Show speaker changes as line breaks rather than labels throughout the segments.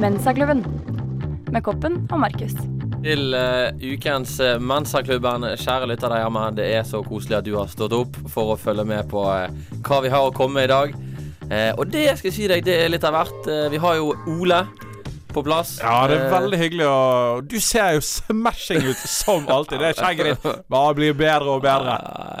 Mensaklubben med Koppen og Markus.
Til eh, ukens eh, Mensaklubben. Kjære lytter der hjemme, det er så koselig at du har stått opp for å følge med på eh, hva vi har å komme med i dag. Eh, og det skal jeg si deg, det er litt av hvert. Eh, vi har jo Ole på plass.
Ja, det er
Eh,
veldig hyggelig å Du ser jo smashing ut som alltid. Det er skjegget ditt. Bare blir bedre og bedre.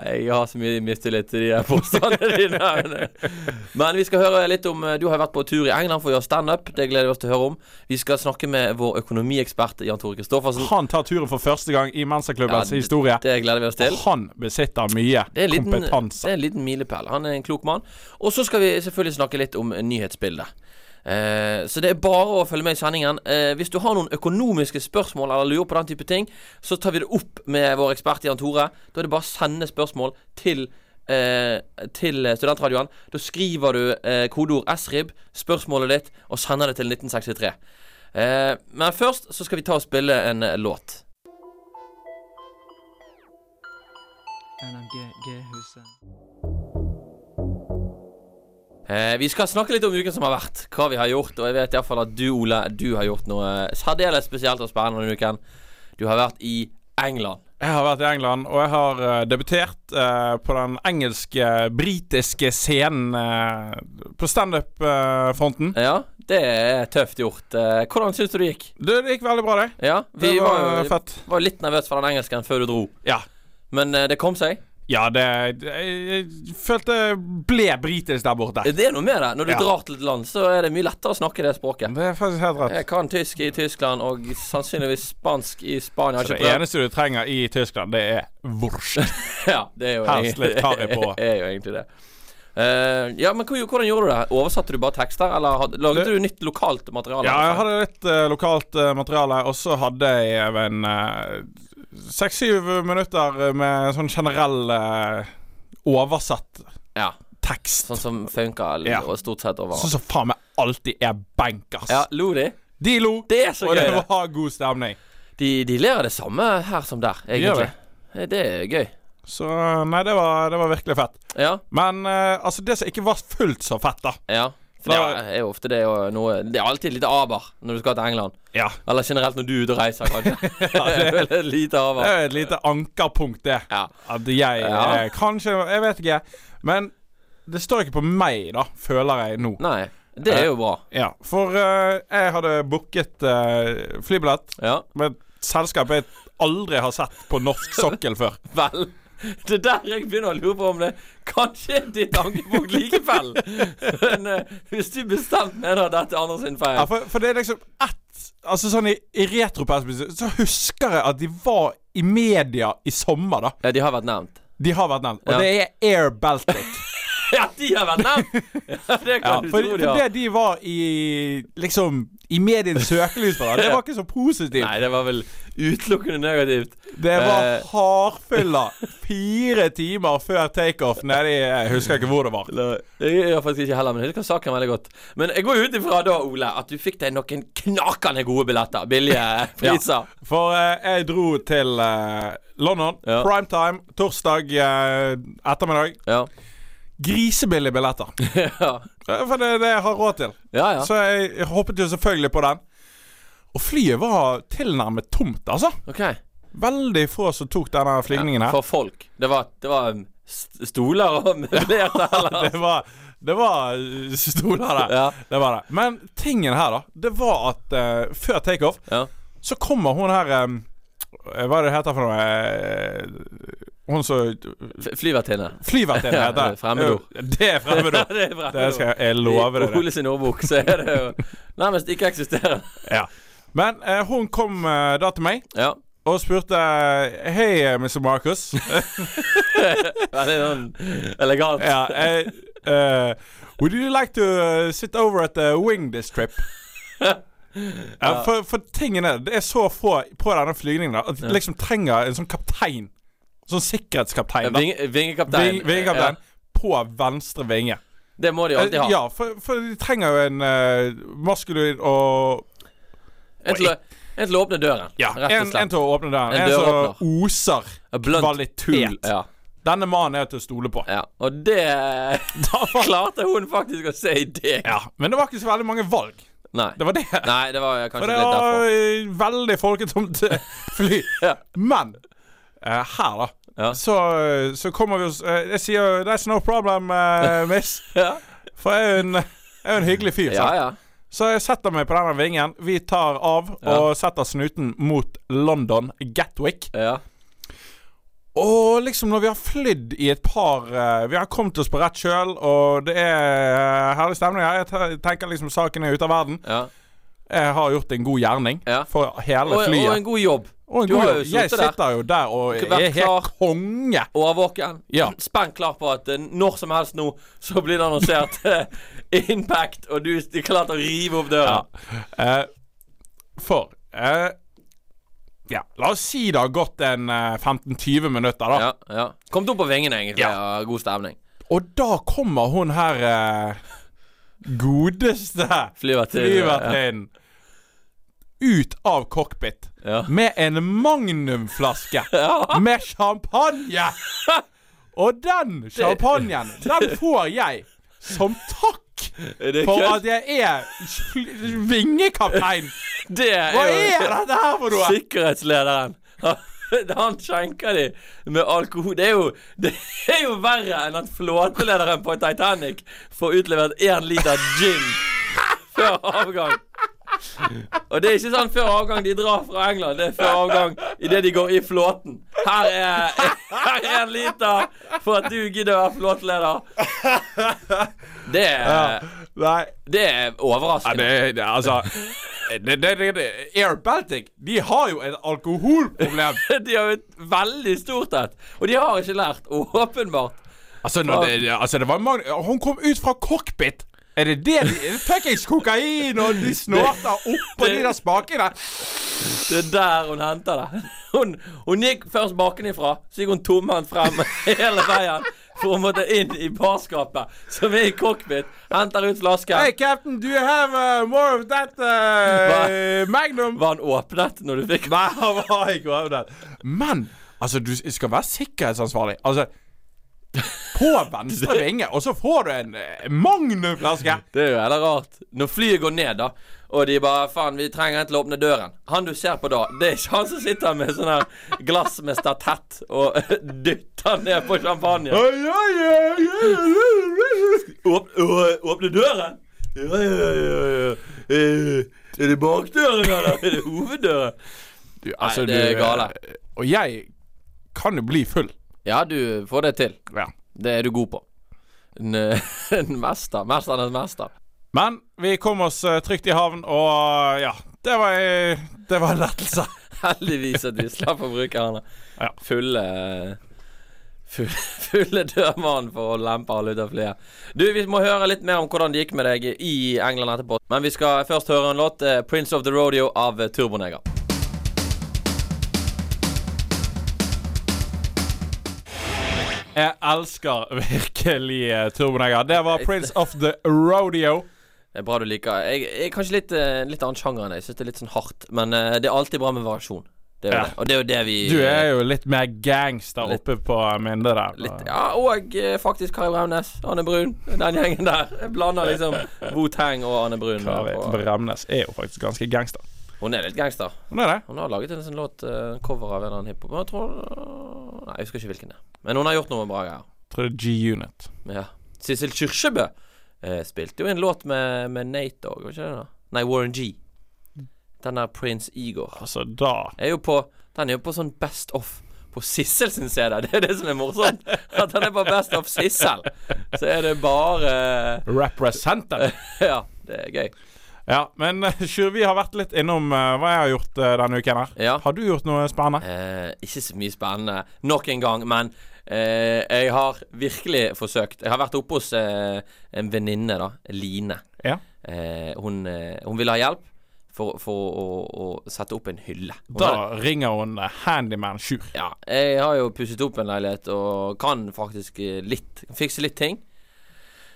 Nei, Jeg har så mye mistillit til de her påstandene dine. Men, men vi skal høre litt om eh, Du har vært på tur i England for å gjøre standup. Det gleder vi oss til å høre om. Vi skal snakke med vår økonomiekspert Jan Tore Kristoffersen.
Han tar turen for første gang i
Ja,
Mensa-klubbens
det-
historie.
Det gleder vi oss til.
Han besitter mye
Det er, en liten, det
kompetanse.
er en liten milepæl. Han er en klok mann. Og så skal vi selvfølgelig snakke litt om nyhetsbildet. Eh, så det er bare å følge med i sendingen. Eh, hvis du har noen økonomiske spørsmål eller lurer på den type ting, så tar vi det opp med vår ekspert Jan Tore. Da er det bare å sende spørsmål til eh, til studentradioen. Da skriver du eh, kodeord SRIB, spørsmålet ditt, og sender det til 1963. Eh, men først så skal vi ta og spille en eh, låt.
NMG-huset.
Eh, vi skal snakke litt om uken som har vært, hva vi har gjort. Og jeg vet iallfall at du, Ole, du har gjort noe særdeles spesielt og spennende denne uken. Du har vært i England.
Jeg har vært i England, og jeg har eh, debutert eh, på den engelske-britiske scenen eh, på eh, standup-fronten.
Ja, det er tøft gjort. Eh, hvordan syns du det gikk?
Du, det gikk veldig bra, det.
Ja,
Det
vi
var
var,
eh,
jo
fett.
var litt nervøs for den engelsken før du dro,
Ja.
men eh, det kom seg.
Ja, det Jeg, jeg følte jeg ble britisk der borte.
Det er noe med det. Når du
Ja.
drar til et land, så er det mye lettere å snakke det språket.
Det er faktisk helt rett.
Jeg kan tysk i Tyskland og sannsynligvis spansk i Spania. Jeg har
Så det
ikke prøvd.
Altså, eneste du trenger i Tyskland, det er vorst.
Ja, det er jo,
Helst
egentlig-
litt karri på.
er jo egentlig det. Eh, ja, men hvor- Hvordan gjorde du det? Oversatte du bare tekster, eller hadde, laget
Det-
du nytt lokalt materiale?
Ja, jeg hadde litt eh, lokalt eh, materiale, og så hadde jeg en eh, seks-syv minutter med sånn generell eh, oversatt
Ja,
tekst.
Sånn som funka
Ja.
og stort sett over.
Sånn som faen meg alltid er bankers.
Ja, Lo de?
De lo,
Det er så
og
gøy!
det
det.
var god stemning.
De, de ler av det samme her som der, egentlig. Eh, Det. er gøy.
Så eh, nei, det var, det var virkelig fett.
Ja,
Men eh, altså, det som ikke var fullt så fett, da
ja. For
Da-
det er jo ofte det og noe Det er alltid litt aber når du skal til England.
Ja,
Eller generelt når du er ute og reiser, kanskje. det er vel et lite
det
aber.
er jo et lite ankerpunkt, det.
Ja.
At jeg
Ja.
eh, Kanskje Jeg vet ikke. Men det står ikke på meg, da, føler jeg nå.
Nei. Det er jo bra.
Ja, for eh, jeg hadde booket eh, flybillett
Ja.
med et selskap jeg aldri har sett på norsk sokkel før.
Vel, det er der jeg begynner å lure på om det kanskje er ditt ankepunkt likevel. Men eh, hvis du bestemt mener at dette er andre sin feil
Ja, for, for det er liksom ett Altså sånn i, i retroperspektiv så husker jeg at de var i media i sommer, da.
Ja, de har vært nevnt.
De har vært nevnt. Og
Ja.
det er Air Baltic.
Ja, de har vært nevnt! Ja, det kan
Ja,
du
for,
tro
for
de har.
det de var i liksom i medienes søkelys for, da, det var ikke så positivt.
Nei, det var vel utelukkende negativt.
Det var
Eh.
hardfylla fire timer før takeoff nede i Jeg husker ikke hvor det var.
Jeg gjør faktisk ikke heller, men jeg husker saken veldig godt. Men jeg går jo ut ifra da, Ole, at du fikk deg noen knakende gode billetter. Billige eh, priser.
For eh, jeg dro til eh, London.
Ja.
Primetime torsdag eh, ettermiddag.
Ja.
Grisebillige billetter.
Ja.
Eh, For det er det jeg har råd til.
ja, ja.
Så jeg hoppet jo selvfølgelig på den. Og flyet var tilnærmet tomt, altså.
OK.
Veldig få som tok denne flygningen her.
For folk. Det var, det var um, st- stoler og møblerte, eller?
Det var, det var eh, stoler der.
Ja.
Det var det. Men tingen her, da, det var at eh, før takeoff
Ja.
så kommer hun her eh, Hva er det heter for noe eh, Hun som
F- Flyvertinne.
Flyvertinne
Ja, det
heter
er fremmedord.
Jo, Det er fremmedord.
det er bra.
Det skal jeg, jeg love
I
deg.
Ole sin ordbok så er det jo nærmest ikke eksisterende.
Ja. Men eh, hun kom eh, da til meg
Ja.
og spurte Hei, eh, Mr. Marcus.
Veldig sånn elegant.
ja, eh, eh, would you like to eh, sit over at the wing this trip? Ja, for, for tingen er Det er så få på denne flygningen da, at de liksom trenger en sånn kaptein. Sånn sikkerhetskaptein. da.
Ving- Vingekaptein.
Ving- Vingekaptein på venstre vinge. Eh,
Ja, det må de alltid ha.
Ja, for, for de trenger jo en eh, maskulin og
En til, å- en til å åpne døren,
ja,
rett og
en, en
slett.
til å åpne døren.
En
En,
døråpner.
som oser
En Blunt tool.
kvalitet.
Ja,
Denne mannen er til å stole på.
ja. Og det klarte hun faktisk å se i deg.
Ja, Men det var ikke så veldig mange valg.
Nei.
Det var det.
Nei, Altså, det var kanskje
For det
litt
var
derfor.
eh, veldig folketomt eh, fly.
Ja.
Men eh, her, da.
Ja.
Så, så kommer vi oss eh, Jeg sier 'there's no problem, eh, miss'.
Ja.
For jeg er jo en, jeg er jo en hyggelig fyr.
ja,
sant?
ja.
Så jeg setter meg på denne vingen. Vi tar av
Ja.
og setter snuten mot London Gatwick.
ja.
Og liksom når vi har flydd i et par eh, Vi har kommet oss på rett kjøl, og det er eh, herlig stemning her. Jeg te- tenker liksom saken er ute av verden.
ja.
Jeg har gjort en god gjerning
Ja.
for
Og,
hele
og
flyet.
en god jobb.
Og en
du
god
har jo
jobb. Jeg
sittet der.
sitter jo der og
Vært
er
klar.
helt konge.
Årvåken.
Ja.
Spent klar på at eh, når som helst nå så blir det annonsert eh, impact, og du er klar til å rive opp
Ja.
døren.
Eh, for eh, Ja, la oss si det har gått en eh, 15-20 minutter, da.
Ja, ja. Kom opp på vingene, egentlig. Ja. God stemning.
Og da kommer hun her eh, godeste
Flyvertinne.
flyvertinnen ut av cockpit
Ja.
med en magnumflaske med champagne. Og den champagnen, den får jeg som takk
Er det
for
kødd?
at jeg er fly- vingekaptein.
Det er
Hva
jo-
er dette her for noe?
Sikkerhetslederen. Han skjenker de med alkohol. Det er jo, det er jo verre enn at flåtelederen på Titanic får utlevert én liter gin før avgang. Og det er ikke sånn før avgang de drar fra England. Det er før avgang idet de går i flåten. Her er, her er en liter for at du gidder å være flåteleder. Det er,
Nei.
det er
Ja,
overraskende.
det, det, altså det, det, det, det. Air Baltic De har jo et alkoholproblem.
De har jo et veldig stort et. Og de har ikke lært, åpenbart.
Altså, når det, det- altså det var mange, Hun kom ut fra cockpit! Er det det de Fuckings kokain, og de snorter oppå de der spakene!
Det er der hun henter det. Hun, hun gikk først bakenifra, så gikk hun tomhendt frem hele veien for å måtte inn i barskapet, som er i cockpit. Henter ut flasken.
Hey, captain, do you have uh, more of that uh, magnum?
Var han åpnet når du fikk
Nei, han var ikke av den. Men altså, du skal være sikkerhetsansvarlig. Altså På venstre vinge, og så får du en eh, magnumflaske!
Det er jo heller rart. Når flyet går ned, da, og de bare 'Faen, vi trenger en til å åpne døren'. Han du ser på da, det er ikke han som sitter med sånn her glass med statett og dytter ned på champagne.
Oi, oi, oi, oi, oi, oi.
Åp å- åpne døren? Ja, ja, ja, ja. Eh, Er det bakdøren, eller er det hoveddøren?
Du, altså,
Nei, det er
du,
gale.
eh, Og jeg kan jo bli full.
Ja, du får det til.
Ja.
Det er du god på. En, eh, en mester. Mesternes mester.
Men vi kom oss eh, trygt i havn, og ja Det var, eh, det var en lettelse.
Heldigvis at vi slapp å bruke han
Ja.
fulle Fulle, fulle dørmannen for å lempe alle ut av flyet. Du, vi må høre litt mer om hvordan det gikk med deg i England etterpå. Men vi skal først høre en låt. eh, 'Prince of the Rodeo' av eh, Turboneger.
Jeg elsker virkelig eh, Turboneger. Det var Prince of the Rodeo.
Det er bra du liker Jeg jeg er kanskje litt, eh, litt annen sjanger enn deg. Jeg synes det er litt sånn hardt. Men eh, det er alltid bra med variasjon. Det er jo
Ja.
det. Og det er jo det vi
Du er jo litt mer gangster
Litt-
oppe på minnet der.
litt, Ja, og eh, faktisk Kari Braumnes. Anne Brun. Den gjengen der. Jeg blander liksom Wu-Tang og Anne Brun.
Kari
på-
Bremnes er jo faktisk ganske gangster.
Hun er litt gangster.
Hun er det.
Hun har laget en sånn låt, eh, cover av en eller annen hiphop Jeg tror Nei, jeg husker ikke hvilken det er. Men hun har gjort noe bra greier.
Tror det er G-Unit.
Ja. Sissel Kyrkjebø eh, spilte jo en låt med, med Nate òg, var ikke det? da? Nei, Warren G. Den der Prince Igor.
Altså, da
er jo på Den er jo på sånn Best of på Sissel sin CD. Det er det som er morsomt. At han er på Best of Sissel. Så er det bare
Representer.
Ja, det er gøy.
Ja, men eh, Sjur, vi har vært litt innom eh, hva jeg har gjort eh, denne uken her.
Ja.
Har du gjort noe spennende?
Eh, ikke så mye spennende nok en gang, men eh, jeg har virkelig forsøkt. Jeg har vært oppe hos eh, en venninne, da. Line.
Ja.
Eh, hun, eh, hun ville ha hjelp for, for å, å sette opp en hylle. Hun
Da
hadde-
ringer hun eh, Handyman Sjur.
Ja, jeg har jo pusset opp en leilighet og kan faktisk eh, litt, kan fikse litt ting.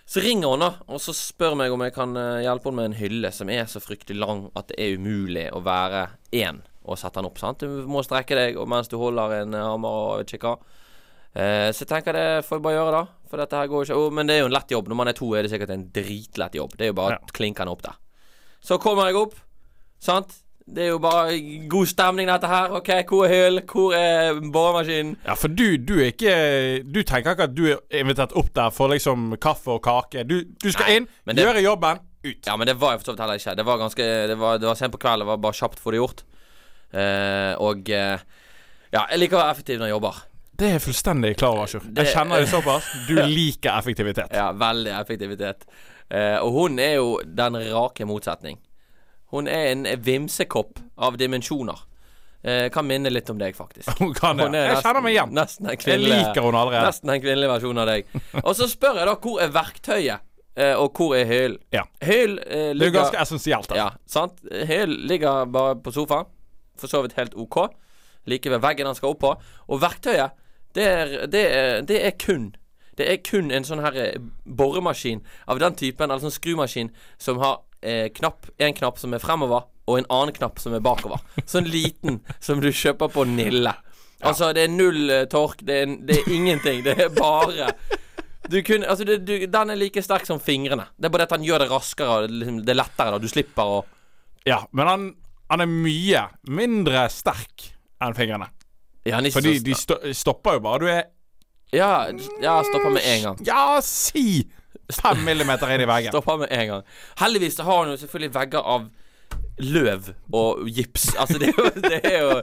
Så ringer hun da, og så spør meg om jeg kan eh, hjelpe henne med en hylle som er så fryktelig lang at det er umulig å være én og sette den opp, sant? Du må strekke deg og mens du holder en eh, hammer og jeg vet ikke hva. Eh, så jeg tenker det får jeg bare gjøre, da. For dette her går jo ikke Å, Men det er jo en lett jobb. Når man er to, er det sikkert en dritlett jobb. Det er jo bare
Ja.
å klinke den opp der. Så kommer jeg opp, sant? Det er jo bare god stemning, dette her. OK, hvor er hyll? Hvor er boremaskinen?
Ja, for du, du er ikke Du tenker ikke at du er invitert opp der for liksom kaffe og kake. Du, du skal
Nei,
inn,
men det-
gjøre jobben, ut.
Ja, men det var jeg for så vidt heller ikke. Det var ganske Det var, det var sent på kvelden. Det var bare kjapt få det gjort. Eh, og eh, Ja, jeg liker å være effektiv når jeg jobber.
Det er jeg fullstendig klar over, Sjur. Jeg
Det-
kjenner det såpass. Du liker effektivitet.
Ja, veldig effektivitet. Eh, og hun er jo den rake motsetning. Hun er en vimsekopp av dimensjoner. Eh, kan minne litt om deg, faktisk.
Hun kan det.
Hun er
Sånn, Jeg
nesten-
kjenner meg igjen.
Nesten en
Jeg
kvinnelig,
liker henne allerede.
nesten en kvinnelig versjon av deg. Og så spør jeg da hvor er verktøyet, eh, og hvor er hyllen?
Ja.
Hyll eh,
Det er jo
ligger
ganske essensielt. da.
Ja, sant? Hyl ligger bare på sofaen. For så vidt helt OK. Like ved veggen han skal opp på. Og verktøyet, det er, det er, det er kun Det er kun en sånn her eh, boremaskin av den typen, eller sånn skrumaskin, som har eh, knapp, en knapp som er fremover, og en annen knapp som er bakover. Sånn liten som du kjøper på Nille. Altså, det er null eh, tork, det er, det er ingenting. Det er bare du kun, altså det, du, Den er like sterk som fingrene. Det er bare det at han gjør det raskere og det, liksom, det er lettere. da Du slipper å
Ja, men han, han er mye mindre sterk enn fingrene.
Ja, han er ikke
Fordi
så-
de sto stopper jo bare. Du er
ja, ja, stopper med en gang.
ja, si fem millimeter inn i veggen.
Stopper med en gang. Heldigvis så har han jo selvfølgelig vegger av løv og gips. Altså, det, er jo- det er jo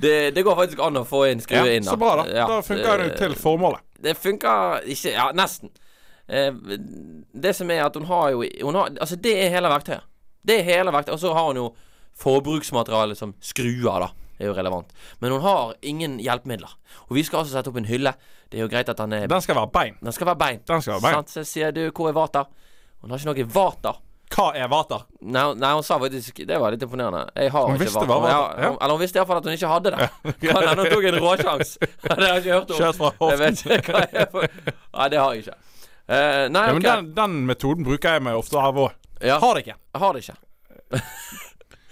det, det går faktisk an å få inn
Ja,
skrue inn.
så bra, da.
Ja, Eh,
Da funker det jo til formålet.
Det funker ikke Ja, nesten. Eh, Det som er at hun har jo hun har, Altså, det er hele verktøyet. Det er hele verktøyet. Og så har hun jo forbruksmateriale som skruer, da. Det er jo relevant. Men hun har ingen hjelpemidler. Og vi skal altså sette opp en hylle. Det er jo greit at den er
Den skal være bein.
Den skal være bein.
Den skal være bein.
Sant? Så sier du 'Hvor er vater?' Hun har ikke noe vater.
Hva er vater?
Nei, hun- nei, hun sa faktisk Det var litt imponerende. Jeg har
Hun
ikke
visste
vater.
hva
Ja,
vater- ja.
hun- Eller hun visste iallfall at hun ikke hadde det. Kan hende hun tok en råsjans. Det har jeg ikke hørt om.
Kjørt fra
Jeg
hoften.
vet ikke hva jeg får Nei, det har jeg ikke. Eh, nei,
Ja,
ok.
men den, den metoden bruker jeg meg ofte av òg.
ja,
Har det ikke.
jeg har det ikke.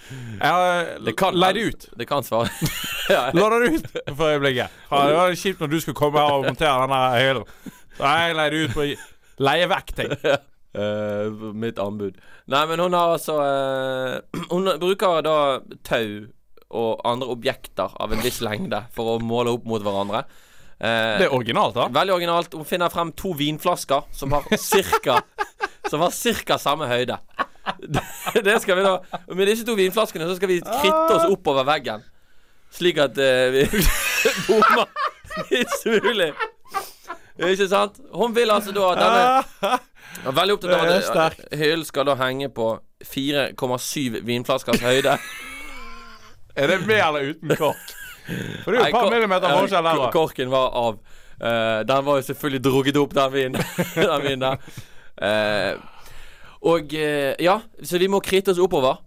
Jeg har eh, leid det ut.
Det kan svare. ja, jeg-
Lå det ut for øyeblikket. Ja, det var kjipt når du skulle komme her og montere denne høyden. Så jeg leide ut på leie vekk ting.
Eh, mitt anbud. Nei, men hun har altså eh, Hun bruker da tau og andre objekter av en viss lengde for å måle opp mot hverandre. Eh,
Det er originalt, da.
Veldig originalt. Hun finner frem to vinflasker som har cirka Som har cirka samme høyde. Det- Det skal vi da og Med disse to vinflaskene så skal vi kritte oss oppover veggen. Slik at eh, vi bommer minst mulig. Ikke sant? Hun vil altså da at denne
Ah,
jeg er veldig opptatt av
Det er
at
sterkt.
hyllen skal da henge på 4,7 vinflaskers høyde.
Er det med eller uten kork? For det er jo
Nei,
et par
kor-
millimeter
ja,
forskjell der.
kor-
da.
Korken var av. Eh, den var jo selvfølgelig drugget opp, den vinen. den vinen der. Eh, og eh, ja, så vi må kritte oss oppover.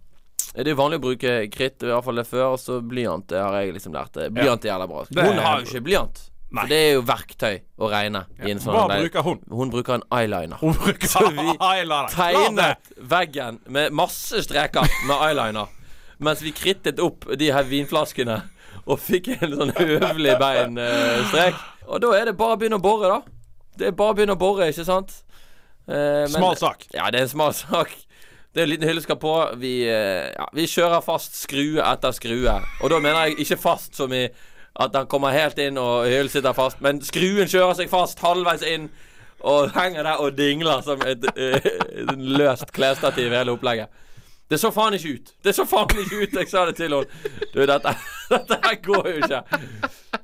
Det er jo vanlig å bruke kritt, i hvert fall det før, og så blyant. Det har jeg liksom lært. Blyant er jævla bra.
er-
Hun har jo ikke blyant.
Nei.
For det er jo verktøy å regne i en sånn
Hva
leir.
bruker hun?
Hun bruker en eyeliner.
Hun bruker
vi
eyeliner. Klart det.
tegnet veggen med masse streker med eyeliner. Mens vi krittet opp de her vinflaskene og fikk en sånn høvelig beinstrek. Og da er det bare å begynne å bore, da. Det er bare å begynne å bore, ikke sant? Eh, men-
Smal sak.
Ja, det er en smal sak. Det er en liten hylle skal på. Vi, eh, ja, vi kjører fast skrue etter skrue. Og da mener jeg ikke fast som i at den kommer helt inn og hyllen sitter fast, men skruen kjører seg fast halvveis inn og henger der og dingler som et eh, et løst klesstativ i hele opplegget. Det så faen ikke ut. Det så faen ikke ut, jeg sa det til henne. Du, dette, dette her går jo ikke.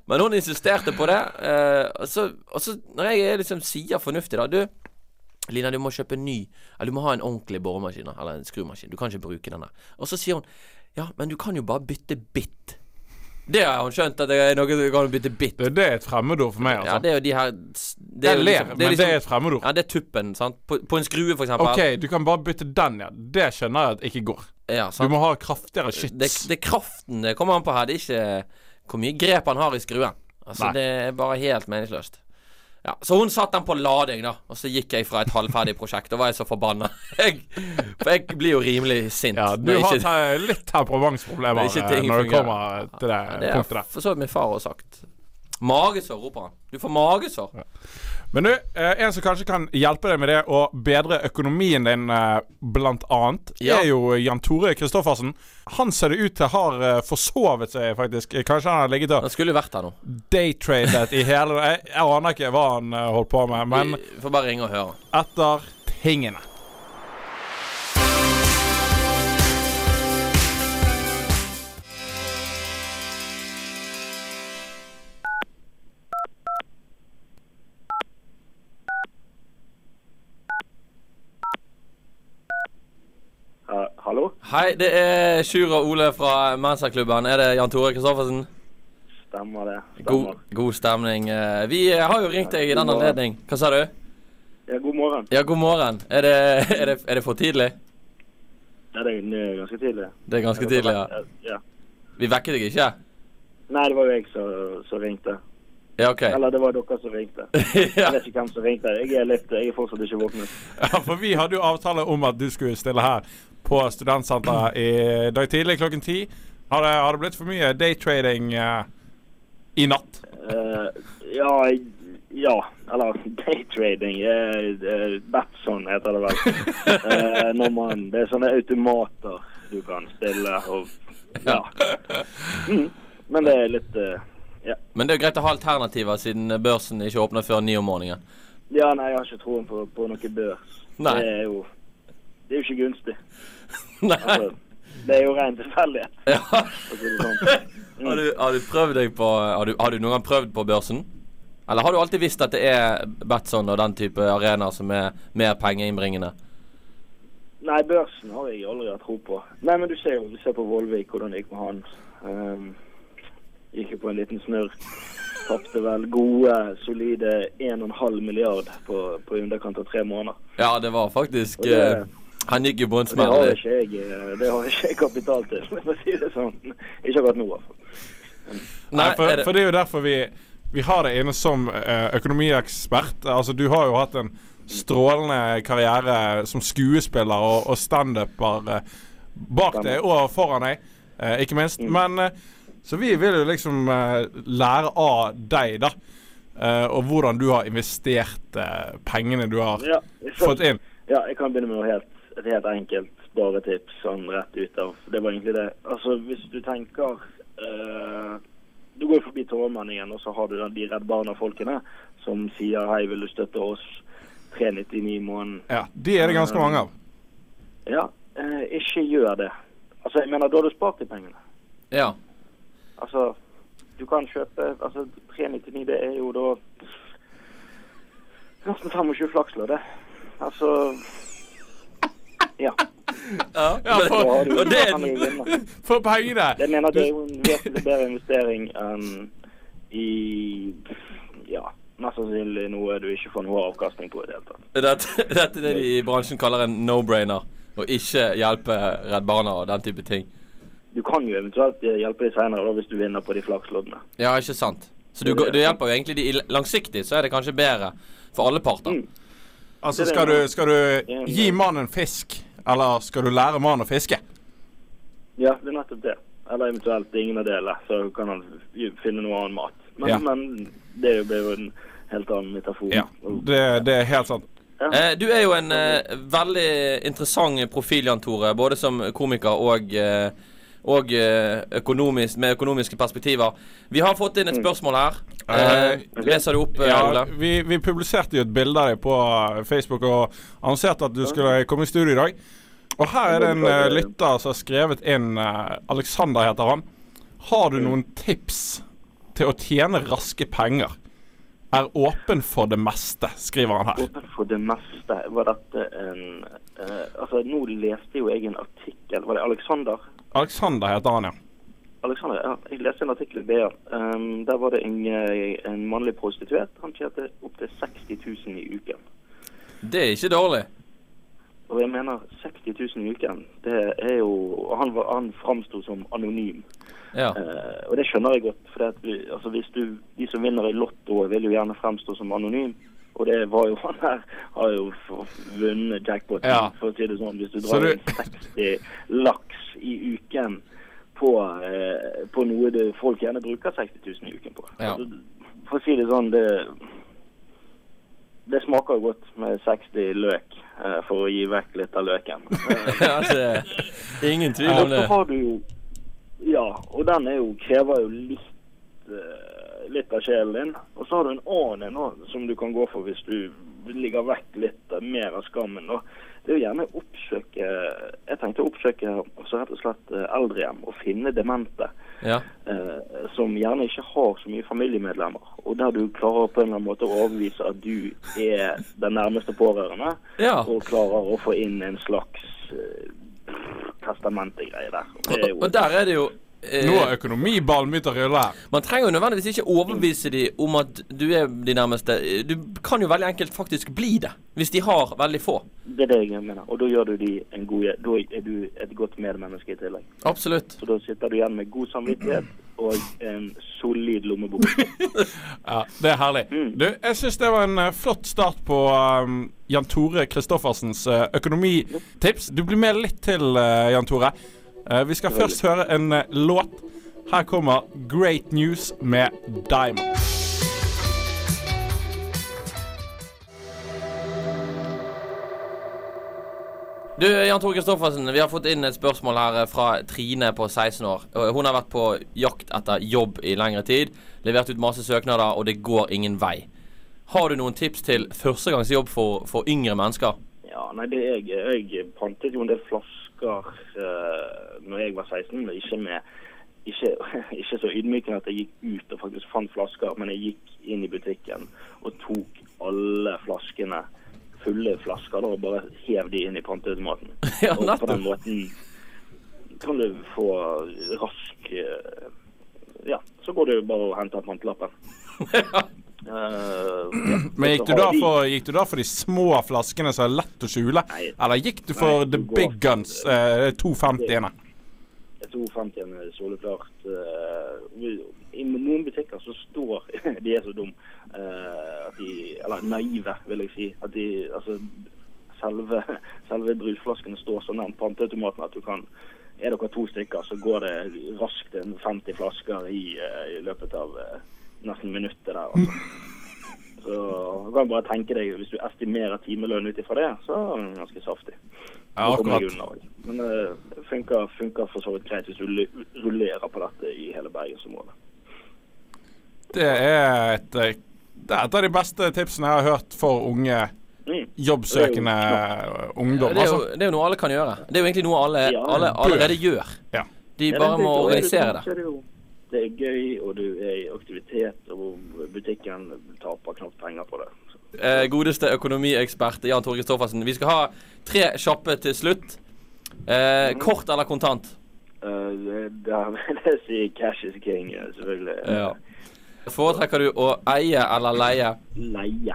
Men hun insisterte på det. eh, og, så, og så, når jeg liksom sier fornuftig, da Du, Lina, du må kjøpe en ny Eller du må ha en ordentlig boremaskin, da, eller en skrumaskin. Du kan ikke bruke denne. Og så sier hun Ja, men du kan jo bare bytte bitt. Det har hun skjønt, at det er noe du kan bytte bitt.
Det, det er et fremmedord for
Ja,
meg, altså.
det er jo de her Det
Jeg
jo
ler,
liksom-
men det
liksom-
er et fremmedord.
Ja, det er tuppen, sant. På, på en skrue, for eksempel.
OK, du kan bare bytte den, ja. Det skjønner jeg at ikke går.
Ja,
Du
sant?
må ha kraftigere skyts.
Det, det er kraften det kommer an på her. Det er ikke hvor mye grep han har i skruen. Altså,
Nei.
det er bare helt meningsløst. Ja, så hun satte den på lading, da. Og så gikk jeg fra et halvferdig prosjekt. Da var jeg så forbanna. Jeg, for jeg blir jo rimelig sint.
Ja, du
når
har
ikke-
te- litt
Det
temperamentsproblemer
er ikke
eh,
ting
når det
fungerer.
kommer til det
det er
punktet der.
for så vidt min far har sagt. Magesår, roper han. Du får magesår.
Men du, eh, en som kanskje kan hjelpe deg med det og bedre økonomien din, eh, blant annet,
Ja.
er jo Jan Tore Kristoffersen. Han ser det ut til har eh, forsovet seg, faktisk. Eh, Kanskje han har ligget og
Han skulle jo vært her nå.
daytradet i hele jeg, jeg aner ikke hva han eh, holdt på med, men
Vi får bare ringe og høre.
etter tingene.
Ha- Hallo?
Hei, det er Sjur og Ole fra Mensa-klubben. Er det Jan Tore Kristoffersen?
Stemmer det. Stemmer.
God, god stemning. Eh, Vi eh, har jo ringt deg i den anledning. Hva sa du?
Ja, god morgen.
Ja, god morgen. Er det, er det, er det for tidlig?
Ja, det er jo eh, ganske tidlig.
Det er ganske tidlig, ja.
ja.
Vi vekket deg ikke?
Nei, det var jo jeg som som ringte.
Ja, OK.
Eller det var dere som ringte.
Ja.
Jeg vet ikke hvem som ringte. Jeg er, litt, jeg er fortsatt ikke våknet.
Ja, for vi hadde jo avtale om at du skulle stille her på Studentsenteret i dag tidlig klokken ti. Har det, har det blitt for mye daytrading eh, i natt?
Eh, ja, jeg- ja. Eller daytrading. Uh, Batson heter det vel. Eh, når man, det er sånne automater du kan stille og Ja. Mm. Men det er litt eh,
Men det er jo greit å ha alternativer siden børsen ikke åpner før ni om morgenen.
Ja, nei, jeg har ikke troen på, på noe børs.
Nei.
Det er jo Det er jo ikke gunstig.
Nei.
Altså, det er jo ren tilfeldighet.
Ja.
for å si det sånn.
Har du, har du prøvd deg på har du, har du noen gang prøvd på børsen? Eller har du alltid visst at det er Batson og den type arenaer som er mer pengeinnbringende?
Nei, børsen har jeg aldri hatt tro på. Nei, men du ser jo du ser på Vollvik hvordan det gikk med han. Ehm, gikk jo på en liten snurr. Tapte vel gode, solide 1,5 milliard på, på i underkant av tre måneder.
Ja, det var faktisk
Og det-
eh, Han gikk jo på en
Det har
smell.
ikke jeg, eh, det har ikke jeg kapital til, for å si det sånn. Ikke akkurat nå, i hvert fall.
Nei,
Nei, for,
er
det...
det-
for det er jo derfor vi, vi har deg inne som eh, økonomiekspert. Altså, du har jo hatt en strålende karriere som skuespiller og, og standuper eh, bak
Stemmer.
deg og foran deg, eh, ikke minst. Men eh, så vi vil jo liksom eh, lære av deg, da. eh, og hvordan du har investert eh, pengene du har
Ja, jeg skjønner.
fått inn.
Ja, jeg kan begynne med noe helt, et helt enkelt sparetips sånn rett ut av. Det var egentlig det. Altså, hvis du tenker eh, Du går jo forbi Tårnmenningen, og så har du den- de Redd Barna-folkene som sier hei, vil du støtte oss? 399 i måneden.
Ja, De er det ganske mange av.
Ja, eh, ikke gjør det. Altså, jeg mener, da har du spart de pengene.
Ja.
Altså, du kan kjøpe Altså, 399, det er jo da nesten 25 flakslår, det. Altså Ja.
Ja,
Men-
Da har du,
og det,
da kan du vinne.
For pengene!
Jeg mener det er jo en vesentlig bedre investering enn i ja, mest sannsynlig noe du ikke får noe avkastning på i det hele tatt.
dette, dette er det de i bransjen kaller en no-brainer. Å ikke hjelpe Redd Barna og den type ting.
Du kan jo eventuelt hjelpe deg senere da, hvis du vinner på de flaksloddene.
Ja, ikke sant? Så du, går- du hjelper jo egentlig de i- langsiktig, så er det kanskje bedre for alle parter.
Mm,
Altså,
Det er
skal
det.
du, skal du gi mannen fisk, eller skal du lære mannen å fiske?
Ja, det er nettopp det. Eller eventuelt ingen av delene, så kan han jo finne noe annen mat. Men,
Ja.
men det er jo- blir jo en helt annen metafor.
Ja,
Og-
det, det er helt sant.
Eh, du er jo en eh, veldig interessant profil, Jan Tore, både som komiker og eh, og eh, økonomisk, med økonomiske perspektiver. Vi har fått
Mm.
inn et spørsmål her. Eh, leser du opp, eh,
Ja,
Ole?
vi, vi publiserte jo et bilde av deg på eh, Facebook og annonserte at du skulle komme i studio i dag. Og her er det en eh, lytter som har skrevet inn eh, Alexander heter han. Har du noen tips til å tjene raske penger? Er åpen for det meste, skriver han her.
Åpen for det meste var dette en eh, Altså, nå leste jo jeg en artikkel Var det Alexander?
Alexander heter han, ja.
Alexander, ja, jeg leste en artikkel i BA. Ehm, der var det en, eh, en mannlig prostituert. Han tjente opptil 60 000 i uken.
Det er ikke dårlig.
Og jeg mener 60 000 i uken, det er jo Han, var- han framsto som anonym.
Ja.
Eh, og det skjønner jeg godt. For altså, hvis du, de som vinner i Lotto, vil jo gjerne fremstå som anonym. Og det var jo han her har jo f- vunnet jackpoten,
Ja.
for å si det sånn. Hvis du
Så
drar
du-
inn 60 laks i uken på, eh, på noe det, folk gjerne bruker 60 000 i uken på.
Ja.
Altså, for å si det sånn, det det smaker jo godt med 60 løk eh, for å gi vekk litt av løken. Eh,
Ja, det, Altså, ingen tvil om
og så
det.
har du jo Ja, og den er jo, krever jo litt eh, Litt av sjelen din. Og så har du en annen en også, som du kan gå for hvis du ligger vekk litt eh, mer av skammen. Da. Det er jo gjerne å oppsøke Jeg tenkte å oppsøke altså rett og slett eh, eldrehjem og finne demente
Ja.
eh, som gjerne ikke har så mye familiemedlemmer, og der du klarer på en eller annen måte å overbevise at du er den nærmeste pårørende,
Ja.
og klarer å få inn en slags eh, testamentegreie der. Og Det er jo
Og der er det jo
Nå
eh,
er økonomiballen begynt å rulle her.
Man trenger jo nødvendigvis ikke overbevise dem om at du er de nærmeste. Du kan jo veldig enkelt faktisk bli det, hvis de har veldig få.
det, er det jeg mener. Og da gjør du de en god Da er du et godt medmenneske i tillegg.
Absolutt.
Så da sitter du igjen med god samvittighet og en solid lommebok.
Ja, Det er herlig.
Mm.
Du, jeg syns det var en eh, flott start på ehm, Jan Tore Christoffersens eh, økonomitips. Du blir med litt til, eh, Jan Tore. Eh, vi skal først høre en eh, låt. Her kommer Great News med Diamond.
Du, Jan Tore Kristoffersen, vi har fått inn et spørsmål her eh, fra Trine på 16 år. Og Hun har vært på jakt etter jobb i lengre tid, levert ut masse søknader, og det går ingen vei. Har du noen tips til førstegangsjobb for, for yngre mennesker?
Ja, nei, det jeg, jeg pantet jo en del flasker uh, når jeg var 16, men ikke med ikke, ikke så ydmykende at jeg gikk ut og faktisk fant flasker, men jeg gikk inn i butikken og tok alle flaskene, fulle flasker, da, og bare hev de inn i panteautomaten.
Ja,
og på
nettopp.
den måten kan du få rask eh, Ja, så går du bare og henter pantelappen. Eh, ja.
Men
Og
gikk
så
du,
har
da
de-
for, gikk du da for de små flaskene som er lett å skjule?
Nei.
Eller gikk du for
Nei,
the
du går
big guns, eh, 250-ene?
Jeg tror 50 er soleklart. eh, I noen butikker så står De er så dumme eh, at de Eller naive, vil jeg si. At de Altså, selve, selve brusflaskene står så nærmt panteautomaten at du kan Er dere to stykker, så går det raskt en 50 flasker i, eh, i løpet av eh, nesten minuttet der. Altså. Så du kan bare tenke deg, hvis du estimerer timelønn ut ifra det, så er den ganske saftig.
Ja,
Da kommer jeg
akkurat.
unna også. Men eh, det funker, funker for så vidt greit hvis du lu- rullerer på dette i hele bergensområdet.
Det er et, eh, det er et av de beste tipsene jeg har hørt for unge
Mm.
jobbsøkende eh,
Ja,
ungdom.
Det er, jo,
Altså.
det er jo noe alle kan gjøre. Det er jo egentlig noe alle,
Ja.
alle allerede gjør.
Ja.
De
Ja,
bare
det er
må
gøy.
organisere det.
Så er det. jo- Det er gøy, og du er i aktivitet, og butikken taper knapt penger på det. Så.
Eh, godeste økonomiekspert Jan Tore Kristoffersen. Vi skal ha tre kjappe til slutt. Eh, kort eller kontant?
eh, det- der vil jeg si cash is king, eh, selvfølgelig.
Foretrekker du å eie eller leie?
Leie.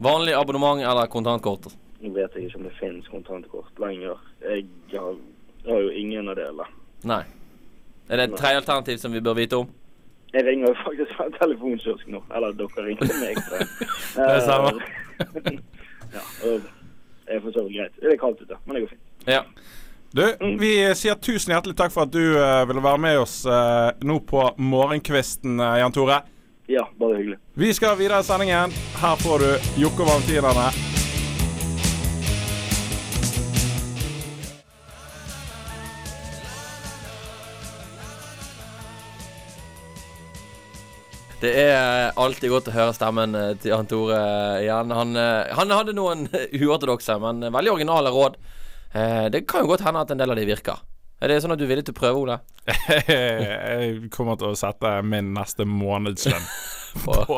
Vanlig abonnement eller kontantkort?
Nå vet jeg ikke om det finnes kontantkort lenger. Jeg har, jeg har jo ingen av delene.
Nei. Er det et tredje alternativ som vi bør vite om?
Jeg ringer jo faktisk fra en telefonkiosk nå. Eller dere ringer meg. Så. det
er samme.
ja, og det er for så vidt greit. Det er kaldt ute, men det går fint.
Ja.
Du, vi sier tusen hjertelig takk for at du eh, ville være med oss eh, nå på morgenkvisten, eh, Jan Tore.
Ja, bare hyggelig.
Vi skal videre i sendingen. Her får du Jokke og Valentinerne.
Det er eh, alltid godt å høre stemmen eh, til Jan Tore igjen. Han, eh, han hadde noen uortodokse, men veldig originale råd. Eh, det kan jo godt hende at en del av de virker. Er det sånn at du er villig til å prøve, Ole?
Jeg kommer til å sette min neste månedslønn
Og,
på,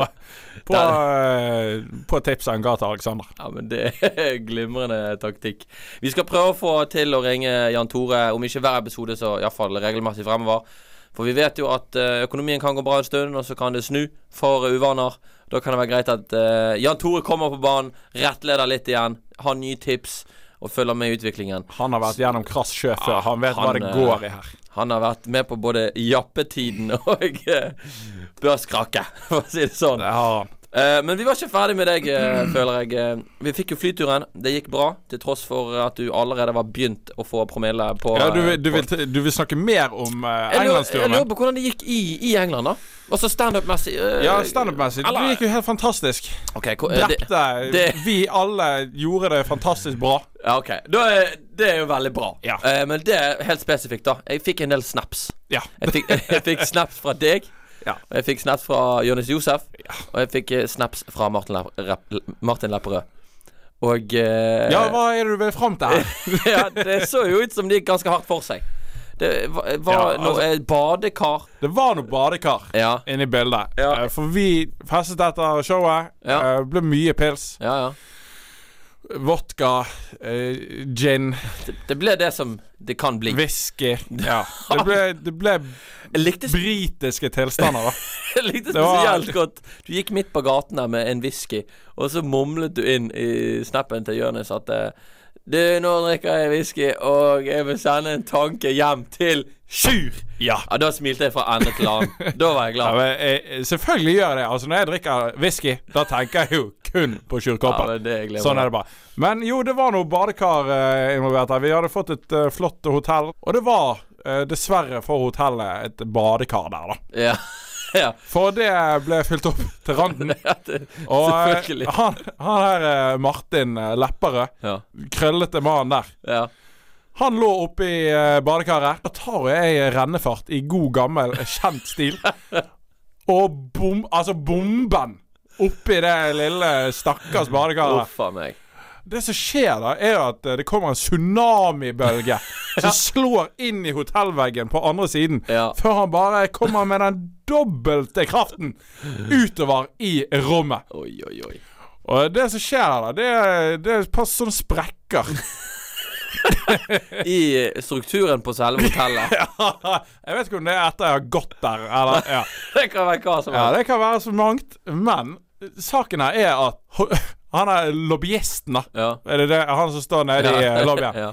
på, eh, på tipset han ga til Aleksander.
ja, men det er glimrende taktikk. Vi skal prøve å få til å ringe Jan Tore, om ikke hver episode, så iallfall regelmessig fremover. For vi vet jo at eh, økonomien kan gå bra en stund, og så kan det snu for uvaner. Da kan det være greit at eh, Jan Tore kommer på banen, rettleder litt igjen, har nye tips og følger med i utviklingen.
Han har vært gjennom krass sjø før. Han vet hva
han,
det
eh,
går i her.
Han har vært med på både jappetiden og eh, børskraket, for å si det sånn.
Det har han.
Eh, men vi var ikke ferdig med deg, eh, føler jeg. Eh, Vi fikk jo flyturen. Det gikk bra, til tross for at du allerede var begynt å få promille på
Ja, du,
eh,
vil- du,
på-
vil, du vil snakke mer om uh,
Jeg lurer, jeg
Englandsturen?
lurer på hvordan det gikk i, i England, da. Altså standup-messig. eh,
Ja, standup-messig. Det
eller-
gikk jo helt fantastisk.
Ok, hvor- eh, det,
Drepte.
det-
Vi alle gjorde det fantastisk bra.
ja, ok. Da er, det er jo veldig bra.
Ja.
Eh, men det er helt spesifikt, da. Jeg fikk en del snaps.
Ja.
Jeg fikk, jeg fikk snaps fra deg.
Ja.
Og jeg fikk snaps fra Jonis Josef. Og jeg fikk eh, snaps fra Martin, Lepp- Lepp- Martin Lepperød. Og eh,
ja, hva er det du vil fram til her?
ja, det så jo ut som de gikk ganske hardt for seg. Det var, var
Ja, altså-
noe eh, badekar
Det var noe badekar
Ja,
inne i bildet.
Ja.
Eh, For vi festet etter showet.
Ja.
eh, ble mye pils.
ja. ja.
Vodka, eh, gin,
Det, det ble det som det kan bli.
whisky. Ja. Det ble, det ble
Jeg likte
britiske tilstander, da.
Jeg likte
Det var-
spesielt godt Du gikk midt på gaten der med en whisky, og så mumlet du inn i snappen til Jonis at eh, Du, nå drikker jeg whisky, og jeg vil sende en tanke hjem til Sjur!
Ja.
Ja, da smilte jeg fra ende til annen. Da var jeg
Ja,
glad.
men, eh, selvfølgelig gjør jeg det. Altså Når jeg drikker whisky, da tenker jeg jo kun på
Ja,
Sjurkoppen.
men det er jeg glad
sånn
for.
er det bare. Men jo, det var noe badekar eh, involvert her. Vi hadde fått et eh, flott hotell, og det var eh, dessverre for hotellet et badekar der, da.
Ja. ja.
For det ble fylt opp til randen.
At det-
Og eh,
Selvfølgelig.
han, han her eh, Martin eh, Lepperød,
Ja.
krøllete mannen der,
ja.
han lå oppi eh, badekaret. Da tar jeg rennefart i god gammel, eh, kjent stil. Og bom, altså bomben oppi det lille stakkars badekaret.
Uff a meg.
Det som skjer da, er jo at eh, det kommer en tsunamibølge som slår inn i hotellveggen på andre siden.
Ja.
Før han bare kommer med den dobbelte kraften utover i rommet.
Oi, oi, oi.
Og det som skjer da, det er, det er et par sånne sprekker.
I eh, strukturen på selve hotellet.
jeg vet ikke om det er etter jeg har gått der, eller ja.
Det kan være hva som
ja,
helst.
det kan være så mangt. Men saken her er at ho- han er lobbyisten, da.
Ja.
Er det det? Han som står nede i eh, lobbyen.
Ja.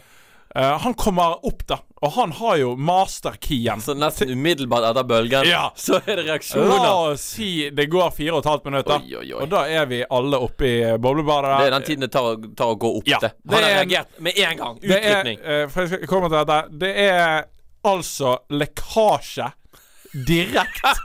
Eh, han kommer opp, da. Og han har jo masterkeyen.
Så nesten umiddelbart etter bølgen,
Ja.
så er det
La
reaksjoner.
oss si det går fire og et halvt minutt, da.
Oi, oi, oi.
Og da er vi alle oppe i boblebadet.
Det
der.
er den tiden det tar, å- tar å gå opp
Ja.
det.
Det
Han har
er-
reagert med en gang.
Det er,
Utrykning.
eh, for jeg skal komme til dette Det er altså lekkasje direkte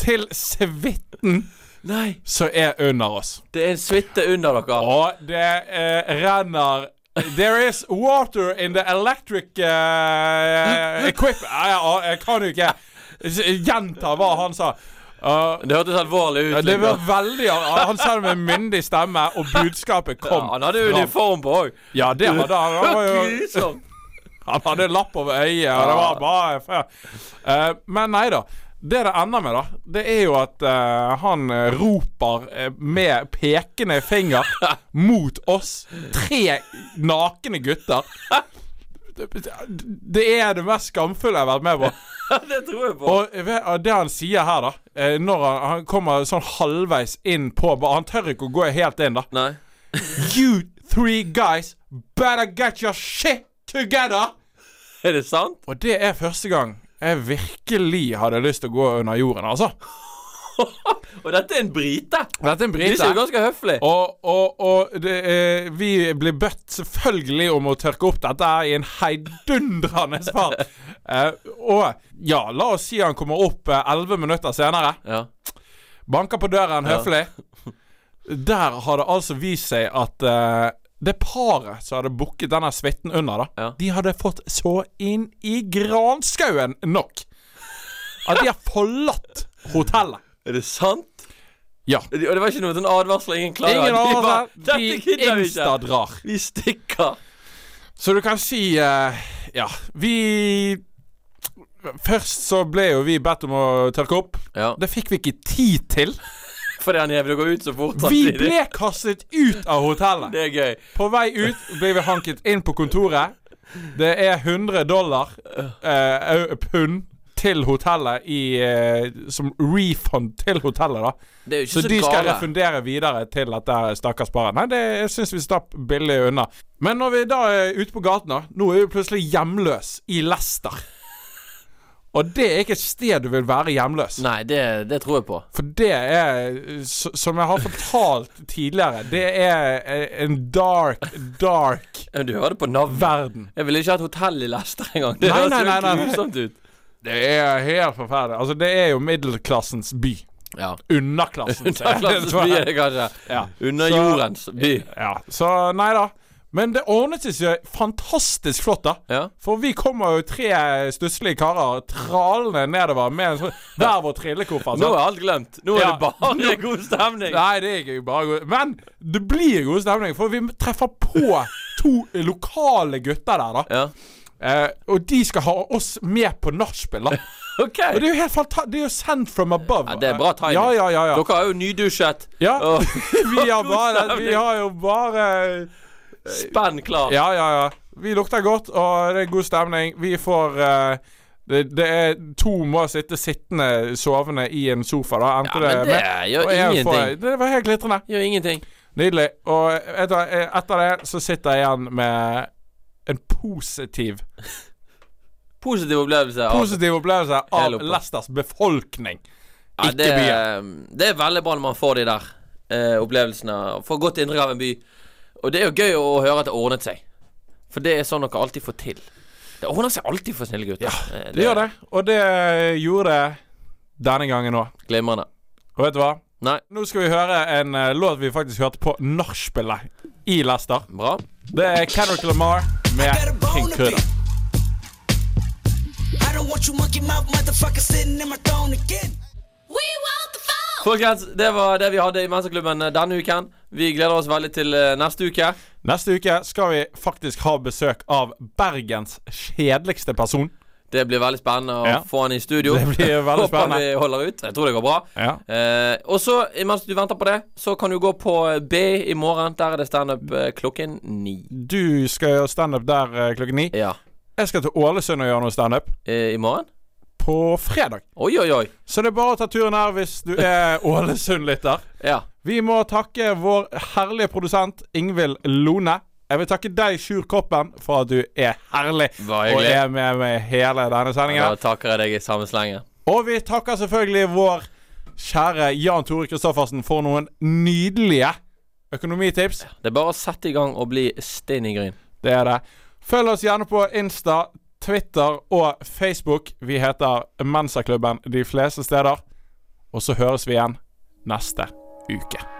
til suiten
Nei,
som er under oss.
det er en suite under dere.
Og det eh, renner There is water in the electric eh, equip... Nei, ja, jeg kan jo ikke s- gjenta hva han sa. Uh,
Det hørtes alvorlig ut.
det var
liksom.
veldig Han sa det med myndig stemme, og budskapet
ja,
kom.
han hadde jo
fram.
uniform på òg.
Ja, det hadde han. Han, var jo,
Grusomt.
han hadde lapp over øyet, og det var bare Eh, Men nei da. Det det ender med, da, det er jo at eh, han eh, roper eh, med pekende finger mot oss. Tre nakne gutter. Det det er det mest skamfulle jeg har vært med på.
det tror jeg på.
Og jeg vet- og det han sier her, da eh, Når han, han kommer sånn halvveis inn på ba- Han tør ikke å gå helt inn, da.
Nei.
You three guys better get your shit together!
Er det sant?
Og det er første gang jeg virkelig hadde lyst til å gå under jorden, altså.
Og dette er en brite.
Dette er en
De ser
brite.
jo ganske høflig.
Og, og, og det, eh, vi blir bedt selvfølgelig om å tørke opp dette her i en heidundrende fart. Eh, og ja, la oss si han kommer opp eh, elleve minutter senere.
Ja.
Banker på døren høflig. Der har det altså vist seg at eh, det paret som hadde booket denne suiten under, da,
Ja.
de hadde fått så inn i granskauen nok at de har forlatt hotellet.
Er det sant?
Ja.
Og det var ikke noe sånn advarsel, ingen klager.
Ingen
De
av
bare,
oss
Dette
de
gidder vi ikke.
instadrar.
Vi stikker.
Så du kan si eh, Ja, vi Først så ble jo vi bedt om å tørke opp.
Ja.
Det fikk vi ikke tid til.
Fordi han jævlig går ut så fort
Vi
samtidig.
ble kastet ut av hotellet.
Det er gøy.
På vei ut blir vi hanket inn på kontoret. Det er 100 dollar eh, au- pund til hotellet i eh, Som refund til hotellet, da.
Det er jo ikke
Så
så,
de skal
gale.
refundere videre til dette stakkars paret. Nei, det syns vi slapp billig unna. Men når vi da er ute på gaten, da Nå er vi plutselig hjemløs i Leicester. Og det er ikke et sted du vil være hjemløs.
Nei, det, det tror jeg på.
For det er, s- som jeg har fortalt tidligere, det er eh, en dark, dark
Men Du hører det på navnet.
verden.
Jeg ville ikke hatt hotell i Lester engang. Det
Nei,
høres
nei,
jo
nei, nei, nei.
grusomt ut.
Det er helt forferdelig. Altså, det er jo middelklassens by.
Ja.
Underklassen.
Underklassens by er det kanskje.
Ja.
Under
Så-
jordens by.
Ja, så nei da. Men det ordnet seg fantastisk flott, da.
Ja.
For vi kommer jo tre stusslige karer tralende nedover med en sånn hver vår trillekoffert.
Nå
sant?
er alt glemt. Nå er
Ja.
det bare god stemning.
Nei, det er ikke bare god Men det blir god stemning, for vi treffer på to lokale gutter der, da.
Ja.
Eh, og de skal ha oss med på nachspiel, da.
OK.
Og det er jo helt fantastisk. Det er jo sent from above.
Ja, det er bra timing.
Ja, ja, ja, ja.
Dere har jo nydusjet.
ja.
Og
Vi, har bare,
stemning.
vi har jo bare
spenn klar.
Ja, ja, ja. Vi lukter godt, og det er god stemning. Vi får eh, det, det er to må sitte sittende, sovende i en sofa, da.
Ja, men det gjør
og jeg får-
ingenting.
det var helt glitrende.
Gjør ingenting.
Nydelig. Og vet du hva, eh, etter det så sitter jeg igjen med en positiv
Positiv opplevelse. av-
Positiv opplevelse av
Helt oppe.
Leicesters befolkning.
Ja,
ikke
det, eh, det er veldig bra når man får de der eh, opplevelsene. Får godt inntrykk av en by. Og det er jo gøy å høre at det ordnet seg. For det er sånn dere alltid får til. Det ordner seg alltid for snille gutter. Eh,
Det gjør det, og det gjorde det denne gangen òg.
er Glimrende.
Og vet du hva?
Nei,
Nå skal vi høre en eh, låt vi faktisk hørte på nachspielet i Leicester.
bra.
Det er Kendrick Lamar med
Got a
King
bone to
Cruda.
pick. I don't want you monkey mouth motherfucker sitting in my throne again.
Folkens, det var det vi hadde i Menseklubben eh, denne uken. Vi gleder oss veldig til eh, neste uke.
Neste uke skal vi faktisk ha besøk av Bergens kjedeligste person.
Det blir veldig spennende å
Ja.
få han i studio.
Det blir veldig spennende.
Håper vi holder ut. Jeg tror det går bra.
Ja.
Eh, og så, mens du venter på det, så kan du gå på eh, B i morgen. Der er det standup eh, klokken ni.
Du skal gjøre standup der eh, klokken ni.
Ja.
Jeg skal til Ålesund og gjøre noe standup
Eh, I morgen?
på fredag.
Oi, oi, oi.
Så det er bare å ta turen her hvis du er Ålesund-lytter.
Ja.
Vi må takke vår herlige produsent Ingvild Lone. Jeg vil takke deg, Sjur Koppen, for at du er herlig
Bare
og
hyggelig.
er med meg hele denne
Da
sendingen.
takker jeg deg i samme slenge.
Og vi takker selvfølgelig vår kjære Jan Tore Kristoffersen for noen nydelige økonomitips.
Det er bare å sette i gang og bli stein i gryn.
Det er det. Følg oss gjerne på Insta, Twitter og Facebook. Vi heter Mensaklubben de fleste steder. Og så høres vi igjen neste uke.